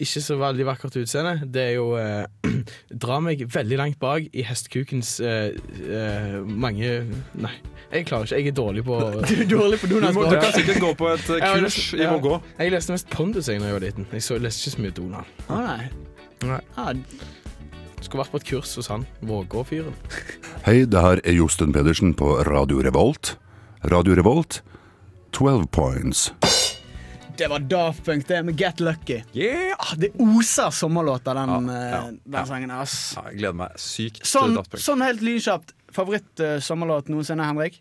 Speaker 8: ikke så veldig vakkert utseende. Det er jo eh, Dra meg veldig langt bak i hestkukens eh, eh, mange Nei, jeg klarer ikke. Jeg er dårlig på
Speaker 2: Du er dårlig på
Speaker 1: Du,
Speaker 2: Donald.
Speaker 1: må, du kan sikkert gå på et eh,
Speaker 8: Jeg har
Speaker 1: kurs
Speaker 8: lest-
Speaker 1: i
Speaker 8: ja.
Speaker 1: Vågå.
Speaker 8: Jeg leste mest Pondus jeg da jeg var liten. Jeg så, leste ikke så mye Donald.
Speaker 2: Å, nei.
Speaker 8: Nei.
Speaker 2: Ah,
Speaker 8: Skulle vært på et kurs hos han. Vågå-fyren.
Speaker 9: Hei, det her er Josten Pedersen på Radio Revolt. Radio Revolt, 12 points.
Speaker 2: det var Daft Punk, det, med Get Lucky.
Speaker 1: Yeah!
Speaker 2: Ah, det oser sommerlåter, den,
Speaker 1: Ja, ja,
Speaker 2: eh, den
Speaker 1: ja.
Speaker 2: sangen. Ass.
Speaker 1: Ja, jeg gleder meg sykt
Speaker 2: Sånn,
Speaker 1: til Daft Punk.
Speaker 2: sånn helt lynkjapt. Favoritt-sommerlåt noensinne, Henrik?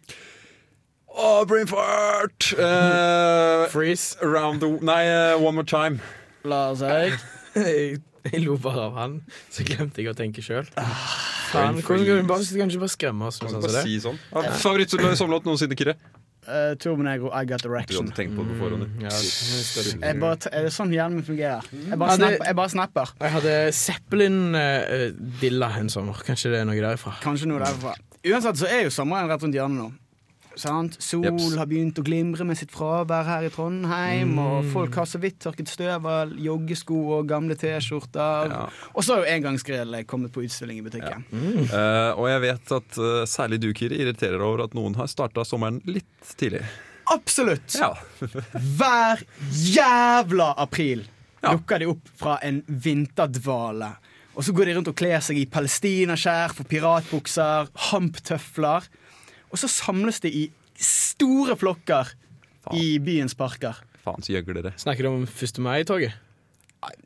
Speaker 1: Åh, brain fart! Eh,
Speaker 8: Freeze.
Speaker 1: round the Nei, eh, One More Time.
Speaker 2: Lars Erik?
Speaker 8: Jeg, jeg lo bare av han, så glemte jeg å tenke sjøl. Kan kan du bare kan du ikke bare skremme oss med sånn som
Speaker 1: Bare
Speaker 8: det?
Speaker 1: si sånn. Ja, Favoritt-sommerlåt noensinne, Kyrre?
Speaker 2: Uh, Negro, I Got
Speaker 1: Du
Speaker 2: Direction.
Speaker 1: hadde tenkt på det på forhånd. du.
Speaker 8: Ja, det-
Speaker 2: Jeg bare, t- er det sånn hjernen min fungerer? Jeg bare,
Speaker 8: Ja, det-
Speaker 2: snapper, jeg bare snapper.
Speaker 8: Jeg hadde Zeppelin-dilla en sommer. Kanskje det er noe derifra.
Speaker 2: Kanskje noe derfra. Uansett så er jo sommeren rett rundt hjørnet nå. Sant? Sol
Speaker 1: Jeps.
Speaker 2: har begynt å glimre med sitt fravær her i Trondheim,
Speaker 1: Mm.
Speaker 2: og folk har så vidt tørket støv av joggesko og gamle T-skjorter.
Speaker 1: Ja.
Speaker 2: Og så har jo engangsgrill kommet på utstilling i butikken.
Speaker 1: Eh, og jeg vet at eh, særlig du, Kyrre, irriterer deg over at noen har starta sommeren litt tidlig.
Speaker 2: Absolutt!
Speaker 1: Ja.
Speaker 2: Hver jævla april
Speaker 1: Ja.
Speaker 2: dukker de opp fra en vinterdvale. Og så går de rundt og kler seg i palestinaskjerf og piratbukser, hamptøfler. Og så samles de i store flokker i byens parker.
Speaker 1: Faen, så gjøgler dere.
Speaker 8: Snakker du om 1. mai-toget?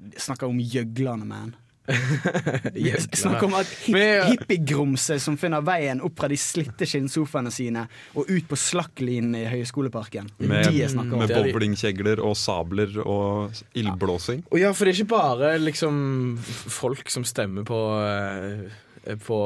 Speaker 2: Jeg snakker om gjøglerne, man. Jeg snakker
Speaker 8: Jækla.
Speaker 2: om at hip,
Speaker 8: Men jeg-
Speaker 2: hippigrumse som finner veien opp fra de slitte skinnsofaene sine og ut på slakklinjen i Høgskoleparken.
Speaker 1: Med,
Speaker 2: de jeg snakker om.
Speaker 1: med
Speaker 8: Det er de.
Speaker 1: bowlingkjegler og sabler og s- ildblåsing.
Speaker 8: Og ja, for det er ikke bare liksom f- folk som stemmer på eh, på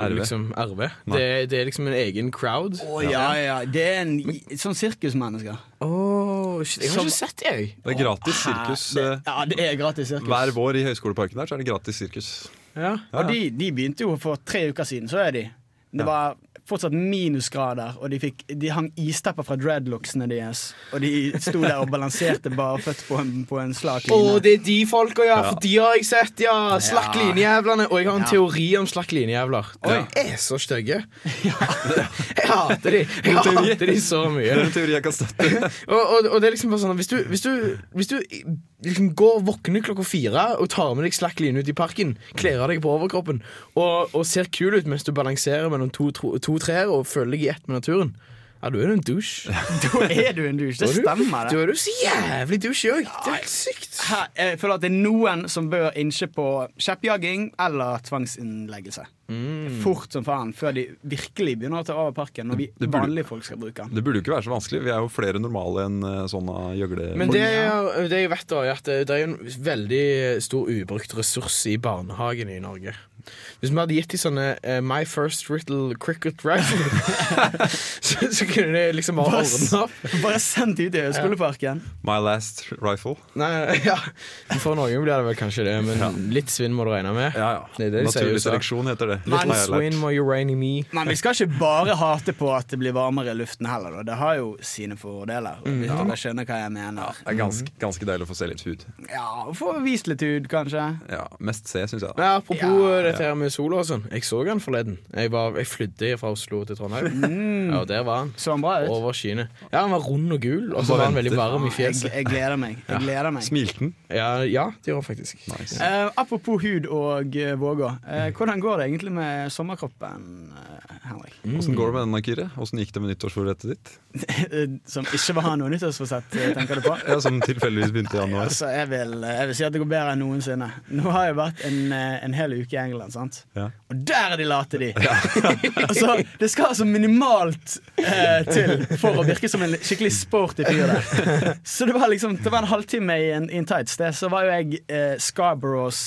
Speaker 1: RV.
Speaker 8: liksom RV.
Speaker 1: Nei.
Speaker 8: Det, er- det er liksom en egen crowd.
Speaker 2: Å ja, ja. Det er en sånn sirkusmennesker.
Speaker 8: Oh, shit, jeg har
Speaker 2: Som-
Speaker 8: ikke sett det, jeg.
Speaker 1: Det er gratis sirkus.
Speaker 2: Hæ?
Speaker 1: eh,
Speaker 2: Det, ja, det er gratis sirkus.
Speaker 1: Hver vår i Høgskoleparken der så er det gratis sirkus.
Speaker 8: Ja.
Speaker 2: Og de, de begynte jo for tre uker siden, så er de. Det var fortsatt minusgrader, og de, fikk, de hang istepper fra dreadlocksene deres. Og de sto der og balanserte barføtt på en, på en slak
Speaker 8: Å,
Speaker 2: line.
Speaker 8: det er de folka, ja! For de har jeg sett, ja! Slakk
Speaker 2: Ja.
Speaker 8: linjejævlene. Og jeg har en
Speaker 2: Ja.
Speaker 8: teori om slakk linjejævler. De er så stygge. Jeg hater de. Jeg
Speaker 1: teori.
Speaker 8: hater de så mye.
Speaker 1: Det er en teori jeg kan støtte.
Speaker 8: Og, og, og det er liksom bare sånn at hvis du, hvis, du, hvis du liksom går, våkner klokka fire og tar med deg slakk line ut i parken, kler av deg på overkroppen og, og ser kul ut mens du balanserer mellom to, tro- to trær og føler deg i ett med naturen. Ja, du er jo en douche.
Speaker 2: Da er du en douche. Det
Speaker 8: Da er du-
Speaker 2: stemmer,
Speaker 8: Da
Speaker 2: det.
Speaker 8: er du så jævlig douche òg. Det er helt sykt.
Speaker 2: Her, jeg føler at det er noen som bør innse på kjeppjaging eller tvangsinnleggelse.
Speaker 1: Mm.
Speaker 2: Fort som faen, før de virkelig begynner å ta av parken når vi
Speaker 1: Det burde-
Speaker 2: vanlige folk skal bruke den.
Speaker 1: Det burde jo ikke være så vanskelig. Vi er jo flere normale enn eh, sånne gjøgle...
Speaker 8: Men det jeg, det jeg vet, da, er at det det er jo en veldig stor ubrukt ressurs i barnehagene i Norge. Hvis vi hadde gitt dem sånne eh, My First Little Cricket Rifle, så, så kunne de liksom bare ordne opp.
Speaker 2: Bare send de ut i skoleparken.
Speaker 1: My last rifle.
Speaker 8: Nei, ja. For noen blir det vel kanskje det, men litt svinn må du regne med.
Speaker 1: Ja, ja.
Speaker 8: Det er det de sier i
Speaker 1: Naturlig
Speaker 8: USA.
Speaker 1: seleksjon heter det.
Speaker 2: Nei,
Speaker 1: Har
Speaker 8: Little
Speaker 1: jeg lært.
Speaker 8: swin må you rain in me.
Speaker 2: Men vi skal ikke bare hate på at det blir varmere i luften heller. Da. Det har jo sine fordeler.
Speaker 8: Mm.
Speaker 2: Hvis dere skjønner hva jeg mener.
Speaker 1: Det er ganske, ganske deilig å få se litt hud.
Speaker 2: Ja, Få vist litt hud, kanskje.
Speaker 1: Ja, Mest se, syns jeg. da.
Speaker 8: Men apropos eh, dette her med sola og sånn. Jeg så han forleden. Jeg, var, jeg flydde fra Oslo til Trondheim,
Speaker 1: Mm.
Speaker 8: ja, og der var han.
Speaker 2: Så han bra ut?
Speaker 8: Over skyene. Ja, han var rund og gul, og så
Speaker 1: Bare
Speaker 8: var han veldig
Speaker 1: venter.
Speaker 8: varm i
Speaker 2: Jeg,
Speaker 8: fjeset.
Speaker 2: jeg gleder meg. Jeg gleder meg.
Speaker 1: Smilte den?
Speaker 8: Ja, ja, det gjorde han faktisk.
Speaker 2: Eh, apropos hud og eh, våger. Eh, hvordan går det egentlig med sommerkroppen, eh, Henrik?
Speaker 1: Åssen går det med den, Akire? Åssen gikk det med nyttårsforrettet ditt?
Speaker 2: Som ikke var noe nyttårsforsett, eh, tenker du på?
Speaker 1: Ja, Som tilfeldigvis begynte i januar.
Speaker 2: Altså, jeg, vil, jeg vil si at det går bedre enn noensinne. Nå har jeg vært en, eh, en hel uke i England, sant?
Speaker 1: Ja.
Speaker 2: og der er de late, de! altså, det skal altså minimalt eh, til for å virke som en skikkelig sporty fyr der. Så det var liksom Det var en halvtime i en, i en tights, det, så var jo jeg eh, Scarboroughs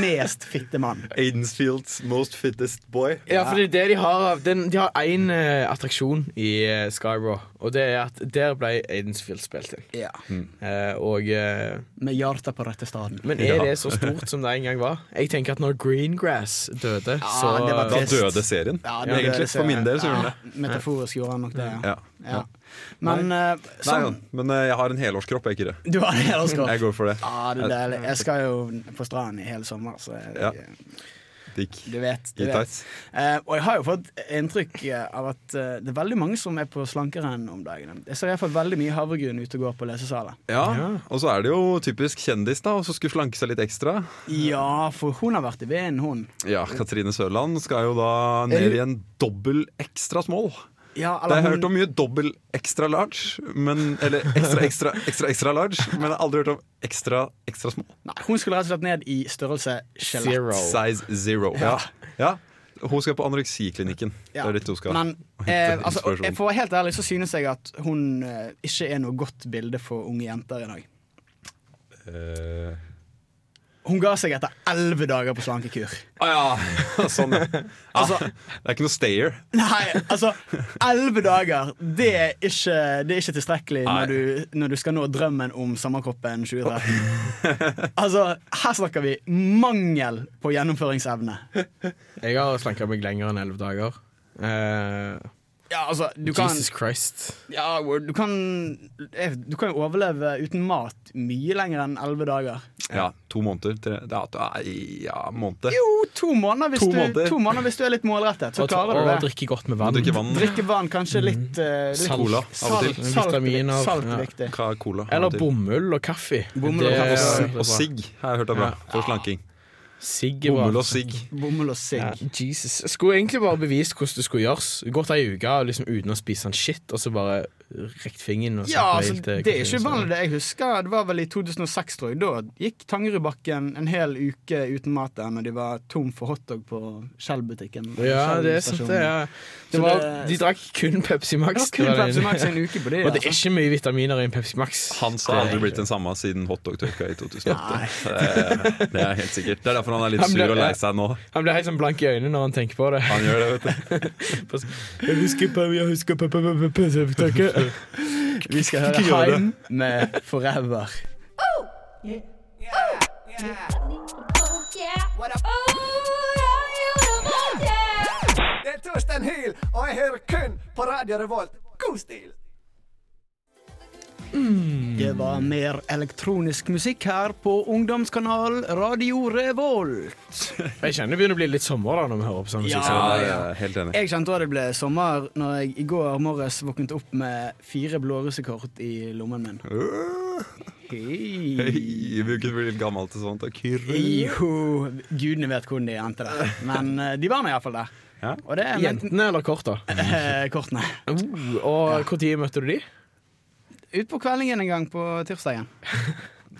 Speaker 2: mest fitte mann.
Speaker 1: Aidensfields most fittest boy.
Speaker 8: Ja, for det er det de har av den, De har én eh, attraksjon i uh, Skybro, og det er at der ble Aidensfield spilt inn.
Speaker 2: Ja.
Speaker 1: Mm.
Speaker 8: Eh, og eh,
Speaker 2: Med hjertet på rette stedet.
Speaker 8: Men er det så stort som det en gang var? Jeg tenker at når Greengrass døde, så
Speaker 2: det var
Speaker 1: Da
Speaker 2: trist.
Speaker 1: døde serien.
Speaker 2: Ja, det
Speaker 1: Ja,
Speaker 2: gjør
Speaker 1: egentlig.
Speaker 2: det, ser
Speaker 1: For min
Speaker 2: jeg.
Speaker 1: del så gjorde den det.
Speaker 2: Ja, metaforisk gjorde han nok det, ja.
Speaker 1: Ja.
Speaker 2: ja. Men eh,
Speaker 1: Nei,
Speaker 2: sånn,
Speaker 1: men eh, jeg har en helårskropp, jeg, Kyrre.
Speaker 2: du har det
Speaker 1: Jeg
Speaker 2: hederskap.
Speaker 1: går for det.
Speaker 2: Ja, det er deilig. Jeg skal jo på stranden i hele sommer, så jeg,
Speaker 1: Ja. Digg.
Speaker 2: du vet. Du
Speaker 1: I
Speaker 2: vet.
Speaker 1: tights.
Speaker 2: Eh, og jeg har jo fått inntrykk eh, av at eh, det er veldig mange som er på slankerenn om dagene. Jeg ser iallfall veldig mye havregryn ute og går på lesesalen.
Speaker 1: Ja, Og så er det jo typisk kjendis, da, og så skulle slanke seg litt ekstra.
Speaker 2: Ja, for hun har vært i vinden, hun.
Speaker 1: Ja, Katrine Sørland skal jo da ned i en dobbel ekstra small.
Speaker 2: Ja,
Speaker 1: Det
Speaker 2: eller
Speaker 1: har jeg
Speaker 2: hun-
Speaker 1: hørt om mye dobbel ekstra large, men, eller ekstra, ekstra, ekstra, ekstra large, men jeg har aldri hørt om ekstra, ekstra small.
Speaker 2: Nei, hun skulle rett og slett ned i størrelse skjelett.
Speaker 8: zero.
Speaker 1: Size zero. Ja. ja. Hun skal på anoreksiklinikken. Det
Speaker 2: Ja,
Speaker 1: er dit hun skal.
Speaker 2: Men eh,
Speaker 1: hente
Speaker 2: altså,
Speaker 1: inspirasjon.
Speaker 2: jeg- for å være helt ærlig så synes jeg at hun eh, ikke er noe godt bilde for unge jenter i dag.
Speaker 1: Eh,
Speaker 2: Hun ga seg etter elleve dager på slankekur.
Speaker 1: Å Ah, ja, sånn ja.
Speaker 2: Altså-
Speaker 1: ja. Det er ikke noe stayer.
Speaker 2: Nei, altså Elleve dager, det er ikke, det er ikke tilstrekkelig når du, når du skal nå drømmen om sommerkroppen 2013. Altså, her snakker vi mangel på gjennomføringsevne.
Speaker 8: Jeg har slanka meg lenger enn elleve dager. Eh,
Speaker 2: Ja, altså, du kan,
Speaker 8: Jesus Christ.
Speaker 2: ja, du kan eh, Du kan jo overleve uten mat mye lenger enn elleve dager.
Speaker 1: Ja, to måneder. Tre, ja, da- ja, måned.
Speaker 2: Jo, to måneder hvis,
Speaker 1: To
Speaker 2: du,
Speaker 1: måneder.
Speaker 2: To måneder hvis du er litt målrettet. Så
Speaker 8: Og,
Speaker 2: klarer
Speaker 8: og
Speaker 2: du det.
Speaker 8: drikke godt med vann.
Speaker 1: Drikke vann.
Speaker 2: Drikke vann, kanskje litt, eh, litt
Speaker 8: Salt.
Speaker 1: Cola, av og
Speaker 2: Salt,
Speaker 1: til.
Speaker 2: salt,
Speaker 8: Vitaminer,
Speaker 2: salt
Speaker 8: ja.
Speaker 2: er viktig.
Speaker 1: Hva er cola?
Speaker 8: Eller
Speaker 1: Av og til.
Speaker 8: bomull og kaffe.
Speaker 2: Bomull og
Speaker 8: Det-
Speaker 1: Og
Speaker 2: kaffe.
Speaker 1: s- Og sigg har jeg hørt er bra for slanking.
Speaker 8: Sigg er bra.
Speaker 1: Bomull og sigg.
Speaker 2: Bomull og sigg.
Speaker 8: Ja, Jesus. Jeg skulle egentlig bare bevist hvordan det skulle gjøres. Gått ei uke liksom, uten å spise en shit, og så bare rekt fingeren. Og eh,
Speaker 2: Ja, altså, det er ikke uvanlig. det Jeg husker det var vel i 2006, tror jeg. Da gikk Tangerudbakken en hel uke uten mat der når de var tom for hotdog på Shell-butikken.
Speaker 8: Ja, det er sant,
Speaker 2: Shell-stasjonen.
Speaker 8: det. Ja.
Speaker 2: Så
Speaker 8: det var,
Speaker 2: det-
Speaker 8: de drakk kun Pepsi
Speaker 2: Det
Speaker 8: Max.
Speaker 2: var kun
Speaker 8: det var det
Speaker 2: Pepsi
Speaker 8: ene.
Speaker 2: Max en uke på det.
Speaker 8: Og det er
Speaker 2: altså.
Speaker 8: ikke mye vitaminer i en Pepsi Max.
Speaker 1: Han sa aldri blitt den samme siden hotdog-tørka i 2008. Det- Det er helt sikkert. Det er derfor han er litt
Speaker 8: Han ble-
Speaker 1: sur og lei seg nå.
Speaker 8: Han blir helt sånn blank i øynene når han tenker på det.
Speaker 1: Han gjør det, vet du.
Speaker 8: Jeg husker på, jeg husker på, på, på, på, på, på, på, på.
Speaker 2: Vi skal høre Heim med Forever.
Speaker 10: Det er Torstein Hyl, og jeg hører kun på Radio Revolt. God stil!
Speaker 8: Mm.
Speaker 2: Det var mer elektronisk musikk her på ungdomskanalen Radio Revolt.
Speaker 8: Jeg kjenner det begynner å bli litt sommer da når vi hører på sånn musikk.
Speaker 1: Ja, jeg er eh, helt enig.
Speaker 2: Jeg kjente også det ble sommer når jeg
Speaker 8: Øh.
Speaker 2: i går morges våknet opp med fire blårusekort i lommen min.
Speaker 1: Hei, Bruker litt gammelt og sånt. og Kyrre.
Speaker 2: Jo, gudene vet hvordan de endte der. Men eh, de var nå iallfall der.
Speaker 1: Ja.
Speaker 2: Og det mente
Speaker 8: Jentene eller korta?
Speaker 2: Eh, kortene.
Speaker 8: Oh, og når møtte du de?
Speaker 2: Ut på kveldingen en gang på tirsdagen.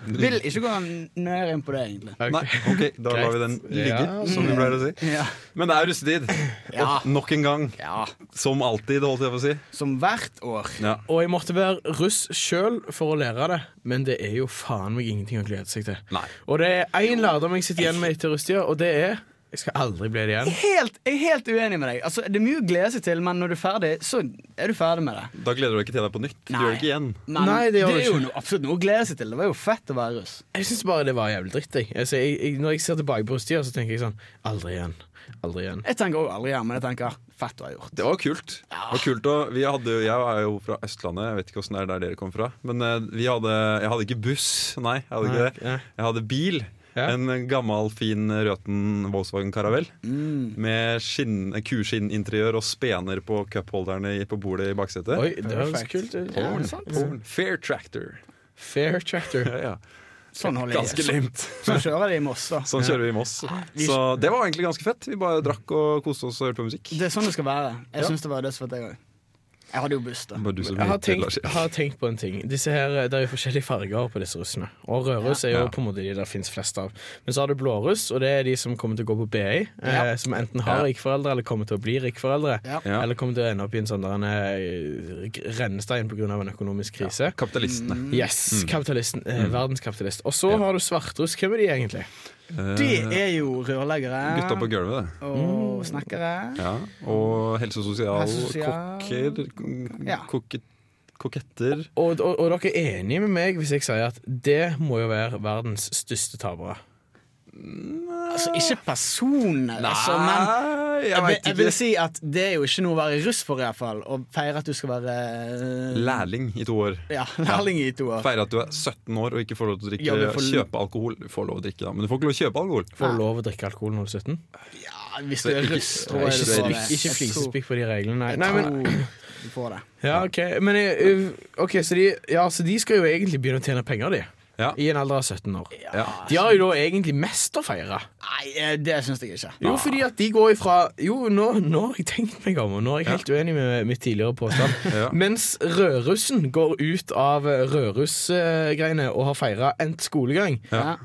Speaker 2: Vil ikke gå nøyere inn på det, egentlig.
Speaker 1: Nei, ok, da lar vi den ligge,
Speaker 8: Ja.
Speaker 1: som vi pleier å si.
Speaker 2: Ja.
Speaker 1: Men det er russetid.
Speaker 2: Ja.
Speaker 1: Og nok en gang.
Speaker 2: ja.
Speaker 1: Som alltid, holdt jeg på å si.
Speaker 2: Som hvert år.
Speaker 1: Ja.
Speaker 8: Og jeg måtte være russ sjøl for å lære det, men det er jo faen meg ingenting å glede seg til.
Speaker 1: Nei.
Speaker 8: Og det er én lærdom jeg sitter igjen med etter russetida, og det er jeg skal aldri bli det igjen.
Speaker 2: Helt, jeg er helt uenig med deg. Altså, det er mye å glede seg til, men når du er ferdig, så er du ferdig med det.
Speaker 1: Da gleder du deg ikke til deg på nytt. Du
Speaker 2: Nei.
Speaker 1: gjør det ikke igjen.
Speaker 2: Men
Speaker 8: Nei, det
Speaker 2: det,
Speaker 8: gjør
Speaker 2: er
Speaker 8: du
Speaker 2: jo
Speaker 8: ikke.
Speaker 2: noe, absolutt noe å glede seg til. Det var jo fett å være russ.
Speaker 8: Jeg syns bare det var jævlig dritt. Jeg. Altså, jeg, jeg, når jeg ser tilbake på russetida, så tenker jeg sånn Aldri igjen. Aldri igjen.
Speaker 2: Jeg tenker også aldri igjen, men jeg tenker fett å ha gjort.
Speaker 1: Det var kult. Det var kult og vi hadde, jo- jeg er jo fra Østlandet, jeg vet ikke åssen det er der dere kom fra. Men eh, vi hadde, jeg hadde ikke buss, nei. Jeg hadde
Speaker 8: Nei,
Speaker 1: ikke det
Speaker 8: nei.
Speaker 1: Jeg hadde bil.
Speaker 8: Ja.
Speaker 1: En gammel, fin Røten Volkswagen Caravelle. Med skinn, kurskinninteriør og spener på cupholderne i- på bordet i baksetet.
Speaker 8: Oi, det høres
Speaker 2: Perfekt.
Speaker 8: kult ut.
Speaker 2: Ja, sant?
Speaker 1: Porn. Fair Tractor.
Speaker 8: Fair tractor.
Speaker 1: Ja, ja.
Speaker 2: Sånn holder jeg.
Speaker 1: Ganske lame.
Speaker 2: Sånn kjører de i Moss, da.
Speaker 1: Sånn kjører vi i Moss.
Speaker 8: Ah,
Speaker 1: Så det var egentlig ganske fett. Vi bare drakk og koste oss og hørte på musikk.
Speaker 2: Det er sånn det skal være.
Speaker 1: Ja.
Speaker 2: Jeg syns det var dødsfett, jeg òg. Jeg hadde jo buss, da.
Speaker 1: Bare du som
Speaker 8: Jeg har
Speaker 1: heter Lars.
Speaker 8: tenkt, har tenkt på en ting. Disse her, eh, Det er jo forskjellige farger på disse russene. Og rødruss er jo
Speaker 1: Ja.
Speaker 8: på en måte de der fins flest av. Men så har du blåruss, og det er de som kommer til å gå på BI. Eh,
Speaker 2: Ja.
Speaker 8: som enten har rikforeldre, eller kommer til å bli rikforeldre.
Speaker 2: Ja.
Speaker 1: Ja.
Speaker 8: Eller kommer til å ende opp i en sånn der en, eh, rennestein pga. en økonomisk krise.
Speaker 1: Kapitalistene.
Speaker 8: Yes, kapitalisten. Eh, Verdenskapitalist. Og
Speaker 1: Mm.
Speaker 8: så
Speaker 1: Ja.
Speaker 8: har du svartruss. Hvem er de egentlig?
Speaker 2: Det er jo rørleggere
Speaker 1: Gutta på gulvet, det.
Speaker 2: og snekkere.
Speaker 1: Ja. Og helse og sosial,
Speaker 2: Helse og sosial.
Speaker 1: kokker, k-
Speaker 2: Ja.
Speaker 1: kokke, koketter
Speaker 8: Og, og, og dere er enige med meg hvis jeg sier at det må jo være verdens største tapere.
Speaker 2: Altså, ikke personer, altså, men
Speaker 1: Nei, Ah, jeg
Speaker 2: jeg, vil-
Speaker 1: veit
Speaker 2: jeg vil
Speaker 1: ikke.
Speaker 2: si at det er jo ikke noe å være russ for, iallfall. Å feire at du skal være eh,
Speaker 1: Lærling i to år.
Speaker 2: ja, lærling i to år.
Speaker 1: Feire at du er 17 år og ikke får lov til å drikke,
Speaker 2: Ja, men for-
Speaker 1: kjøpe alkohol. Du får lov å drikke, da, men du får ikke lov å kjøpe alkohol.
Speaker 8: Får du lov å drikke alkohol når du er 17?
Speaker 2: Ja, hvis du
Speaker 1: Så
Speaker 2: er
Speaker 1: ikke-
Speaker 2: russ,
Speaker 1: Nei,
Speaker 2: tror jeg
Speaker 8: Ikke,
Speaker 2: du får det.
Speaker 8: spikk- ikke flisespikk på de reglene, nei.
Speaker 2: Jeg
Speaker 8: nei men,
Speaker 2: tror du får det.
Speaker 8: ja, ok, men eh, ok, så de, ja, så de skal jo egentlig begynne å tjene penger, de.
Speaker 1: Ja.
Speaker 8: I en alder av 17 år.
Speaker 1: Ja.
Speaker 8: De har jo da egentlig mest å feire.
Speaker 2: Nei, eh, det syns jeg ikke.
Speaker 8: Jo, fordi at de går ifra Jo, nå, nå har jeg tenkt meg om, og nå er jeg helt uenig med mitt tidligere påstand.
Speaker 1: Ja.
Speaker 8: Mens rødrussen går ut av eh, rødrussgreiene og har feira endt skolegang,
Speaker 2: Ja.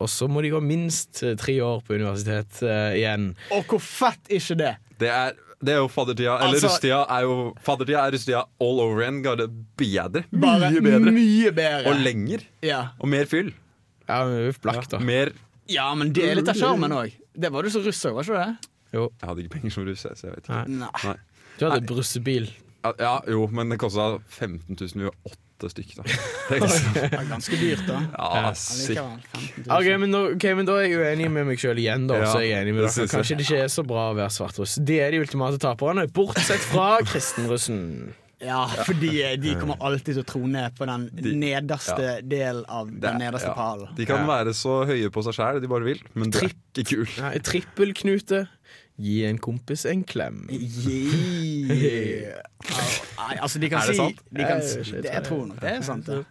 Speaker 8: og så må de gå minst eh, tre år på universitet eh, igjen.
Speaker 2: Og hvor fett er ikke det?
Speaker 1: Det er, det er jo faddertida. Eller
Speaker 2: Altså-
Speaker 1: russetida er jo Faddertida er russetida all over again. Ga det bedre.
Speaker 2: Bare
Speaker 1: Mye bedre.
Speaker 2: Mye bedre.
Speaker 1: Og lenger.
Speaker 2: ja.
Speaker 1: Og mer fyll.
Speaker 8: Ja, men uff, blakk, da.
Speaker 1: Mer
Speaker 2: ja, men det er litt
Speaker 1: Mm.
Speaker 2: av sjarmen òg. Det var du som russ òg, var ikke det?
Speaker 8: Jo,
Speaker 1: Jeg hadde ikke penger som russ, jeg, så jeg vet ikke.
Speaker 8: Nei.
Speaker 2: Nei.
Speaker 1: Nei.
Speaker 8: du hadde brussebil.
Speaker 1: Ja, Ja, jo, men det kosta 15 000. Vi var åtte stykk, da. Det er liksom-
Speaker 2: Det er ganske dyrt, da.
Speaker 1: Ja, sikkert.
Speaker 2: Allikevel, 15 000.
Speaker 8: Ok, men, nå- ok, men da er jeg uenig med meg sjøl igjen. da
Speaker 1: Ja,
Speaker 8: Så er jeg enig med
Speaker 1: det
Speaker 8: dere
Speaker 1: synes jeg.
Speaker 8: Kanskje det ikke er så bra å være svartruss. De er de ultimate taperne, bortsett fra kristenrussen.
Speaker 2: Ja, fordi eh, de kommer alltid til å tro ned på den nederste del av
Speaker 1: Det er-
Speaker 2: den nederste palen.
Speaker 1: De kan
Speaker 8: Ja.
Speaker 1: være så høye på seg sjæl de bare vil, men det er ikke kul.
Speaker 8: Nei, Trippelknute. Gi en kompis en klem.
Speaker 2: Yeah. Au, Nei, altså de kan
Speaker 1: Er det
Speaker 2: si
Speaker 1: sant?
Speaker 2: de kan,
Speaker 8: Jeg-
Speaker 2: si-
Speaker 8: jeg tror
Speaker 2: det, Jeg
Speaker 8: det.
Speaker 2: tror nok det er sant. Det,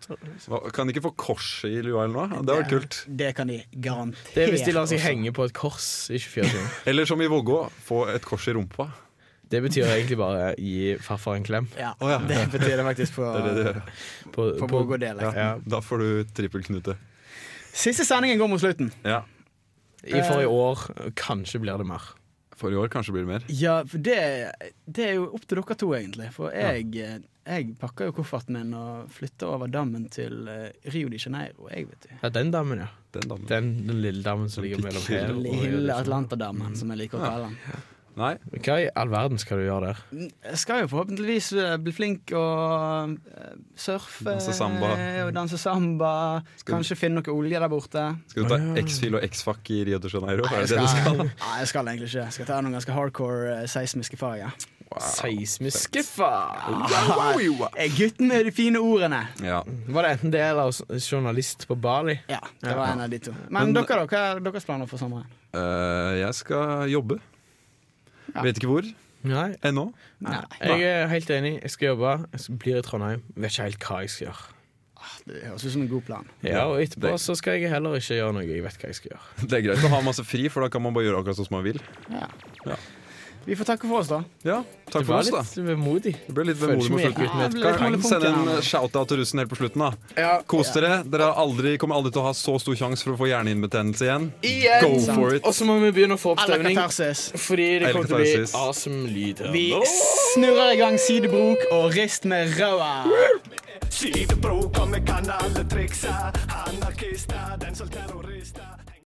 Speaker 1: Hva- Kan de ikke få korset i lua eller noe? Det hadde vært kult.
Speaker 2: det kan de garantert.
Speaker 8: Det er hvis de lar seg
Speaker 1: altså.
Speaker 2: også.
Speaker 8: henge på et kors i 24 timer.
Speaker 1: Eller som i Vågå, få et kors i rumpa.
Speaker 8: Det betyr egentlig bare gi farfar en klem.
Speaker 2: Ja,
Speaker 1: Å, ja.
Speaker 2: Det betyr det faktisk på,
Speaker 1: Det er det de gjør.
Speaker 8: På,
Speaker 2: på Borgodel.
Speaker 1: Ja.
Speaker 2: liksom.
Speaker 1: Da får du trippelknute.
Speaker 2: Siste sendingen går mot slutten.
Speaker 1: Ja.
Speaker 8: I forrige år. Kanskje blir det mer.
Speaker 1: Forrige år kanskje blir det mer.
Speaker 2: Ja, for det, det er jo opp til dere to, egentlig. For jeg, eh, jeg pakker jo kofferten min og flytter over dammen til eh, Rio de Janeiro, jeg, vet du.
Speaker 8: Ja, den dammen, ja.
Speaker 1: Den damen.
Speaker 8: Den, den lille dammen som ligger mellom her og
Speaker 2: Lille Atlanterdammen, som jeg liker å kalle den.
Speaker 1: Nei,
Speaker 8: Hva i all verden skal du gjøre der?
Speaker 2: Jeg skal jo forhåpentligvis eh, bli flink og eh, surfe. eh,
Speaker 1: Danse samba.
Speaker 2: Og danse samba.
Speaker 1: Skal-
Speaker 2: Kanskje finne noe olje der borte.
Speaker 1: skal du ta X-Fil og X-Fac i Rio de Janeiro? Er det det du skal?
Speaker 2: Nei, jeg skal egentlig ikke. Jeg skal ta noen ganske hardcore eh, seismiske fag. Ja.
Speaker 8: Seismiske faen!
Speaker 2: Eh, Gutten med de fine ordene.
Speaker 1: Ja.
Speaker 8: Var det enten det eller s- journalist på Bali?
Speaker 2: Ja, det var en av de to. Men,
Speaker 1: Men-
Speaker 2: dere, da? Hva er deres planer for sommeren?
Speaker 1: Eh, jeg skal jobbe.
Speaker 2: Ja.
Speaker 1: Vet ikke hvor
Speaker 8: Nei.
Speaker 1: ennå.
Speaker 2: Nei.
Speaker 8: Jeg er helt enig. Jeg skal jobbe. Jeg skal- blir i Trondheim. Vet ikke helt hva jeg skal gjøre.
Speaker 2: Det høres ut som en god plan.
Speaker 8: Ja, og etterpå så skal jeg heller ikke gjøre noe. Jeg vet hva jeg skal gjøre.
Speaker 1: Det er greit å ha masse fri, for da kan man bare gjøre akkurat sånn som man vil.
Speaker 2: Ja.
Speaker 1: Ja.
Speaker 2: Vi får takke for oss, da.
Speaker 1: Ja, takk
Speaker 8: Det
Speaker 1: for
Speaker 8: var
Speaker 1: oss, da.
Speaker 8: litt vemodig.
Speaker 1: Det ble litt
Speaker 8: Føler
Speaker 1: vemodig
Speaker 8: ikke
Speaker 1: mot
Speaker 8: vi gikk
Speaker 1: slutten.
Speaker 8: ut med et
Speaker 1: Kan
Speaker 8: knall i
Speaker 1: kan sende
Speaker 8: punkten her
Speaker 1: en
Speaker 8: nå.
Speaker 1: shout-out til russen helt på slutten, da. Kos dere. Dere har aldri, kommer aldri til å ha så stor sjanse for å få hjernehinnebetennelse igjen.
Speaker 8: Igjen!
Speaker 1: Go for it.
Speaker 8: Og så må vi begynne å få
Speaker 2: Eller
Speaker 8: oppstevning.
Speaker 2: katarsis.
Speaker 8: Fordi det
Speaker 1: Eller
Speaker 8: kommer til å bli
Speaker 1: katarsis.
Speaker 8: awesome lyd. her.
Speaker 2: Vi
Speaker 8: Nå.
Speaker 2: snurrer i gang sidebrok og rist med røda.
Speaker 10: Sidebror, kom, jeg kan alle triksa. Anarkister, den som terrorister.